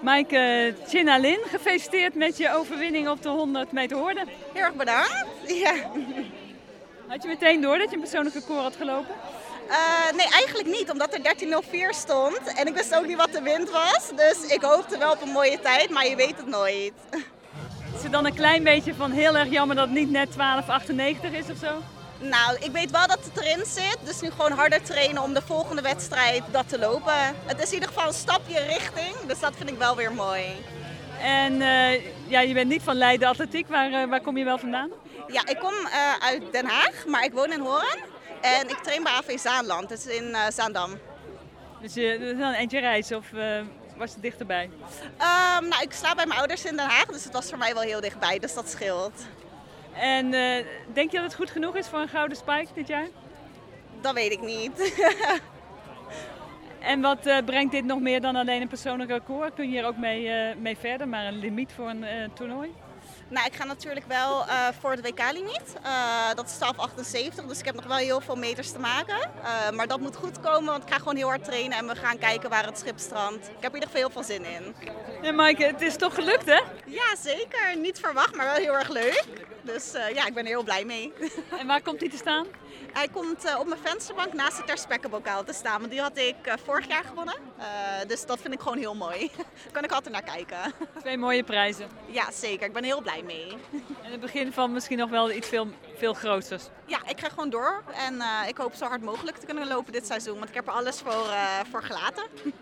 Maaike Chinalin, gefeliciteerd met je overwinning op de 100 meter hoorde. Heel erg bedankt. Ja. Had je meteen door dat je een persoonlijk record had gelopen? Eh, nee, eigenlijk niet, omdat er 13.04 stond. En ik wist ook niet wat de wind was. Dus ik hoopte wel op een mooie tijd, maar je weet het nooit. Is het dan een klein beetje van heel erg jammer dat het niet net 12,98 is of zo? Nou, ik weet wel dat het erin zit. Dus nu gewoon harder trainen om de volgende wedstrijd dat te lopen. Het is in ieder geval een stapje richting. Dus dat vind ik wel weer mooi. En eh, ja, je bent niet van Leiden Atletiek, waar, eh, waar kom je wel vandaan? Ja, ik kom eh, uit Den Haag, maar ik woon in Hoorn. En ik train bij AV Zaanland, dus in eh, Zaandam. Dus je dat is wel een eindje reis of eh, was het dichterbij? Ehm, nou, ik slaap bij mijn ouders in Den Haag, dus het was voor mij wel heel dichtbij. Dus dat scheelt. En eh, denk je dat het goed genoeg is voor een gouden spike dit jaar? Dat weet ik niet. En wat eh, brengt dit nog meer dan alleen een persoonlijk record? Kun je hier ook mee, eh, mee verder, maar een limiet voor een eh, toernooi? Nou, ik ga natuurlijk wel eh, voor het WK-limiet. Eh, dat is 1278, dus ik heb nog wel heel veel meters te maken. Eh, maar dat moet goed komen, want ik ga gewoon heel hard trainen en we gaan kijken waar het schip strandt. Ik heb in ieder geval heel veel zin in. En Maaike, het is toch gelukt hè? Ja, zeker. Niet verwacht, maar wel heel erg leuk. Dus eh, ja, ik ben er heel blij mee. En waar komt die te staan? Hij komt eh, op mijn vensterbank naast het Ter Spekkenbokaal te staan. Want die had ik eh, vorig jaar gewonnen. Eh, dus dat vind ik gewoon heel mooi. Daar kan ik altijd naar kijken. Twee mooie prijzen. Ja, zeker. Ik ben er heel blij mee. En het begin van misschien nog wel iets veel, veel groters. Ja, ik ga gewoon door. En eh, ik hoop zo hard mogelijk te kunnen lopen dit seizoen. Want ik heb er alles voor, eh, voor gelaten.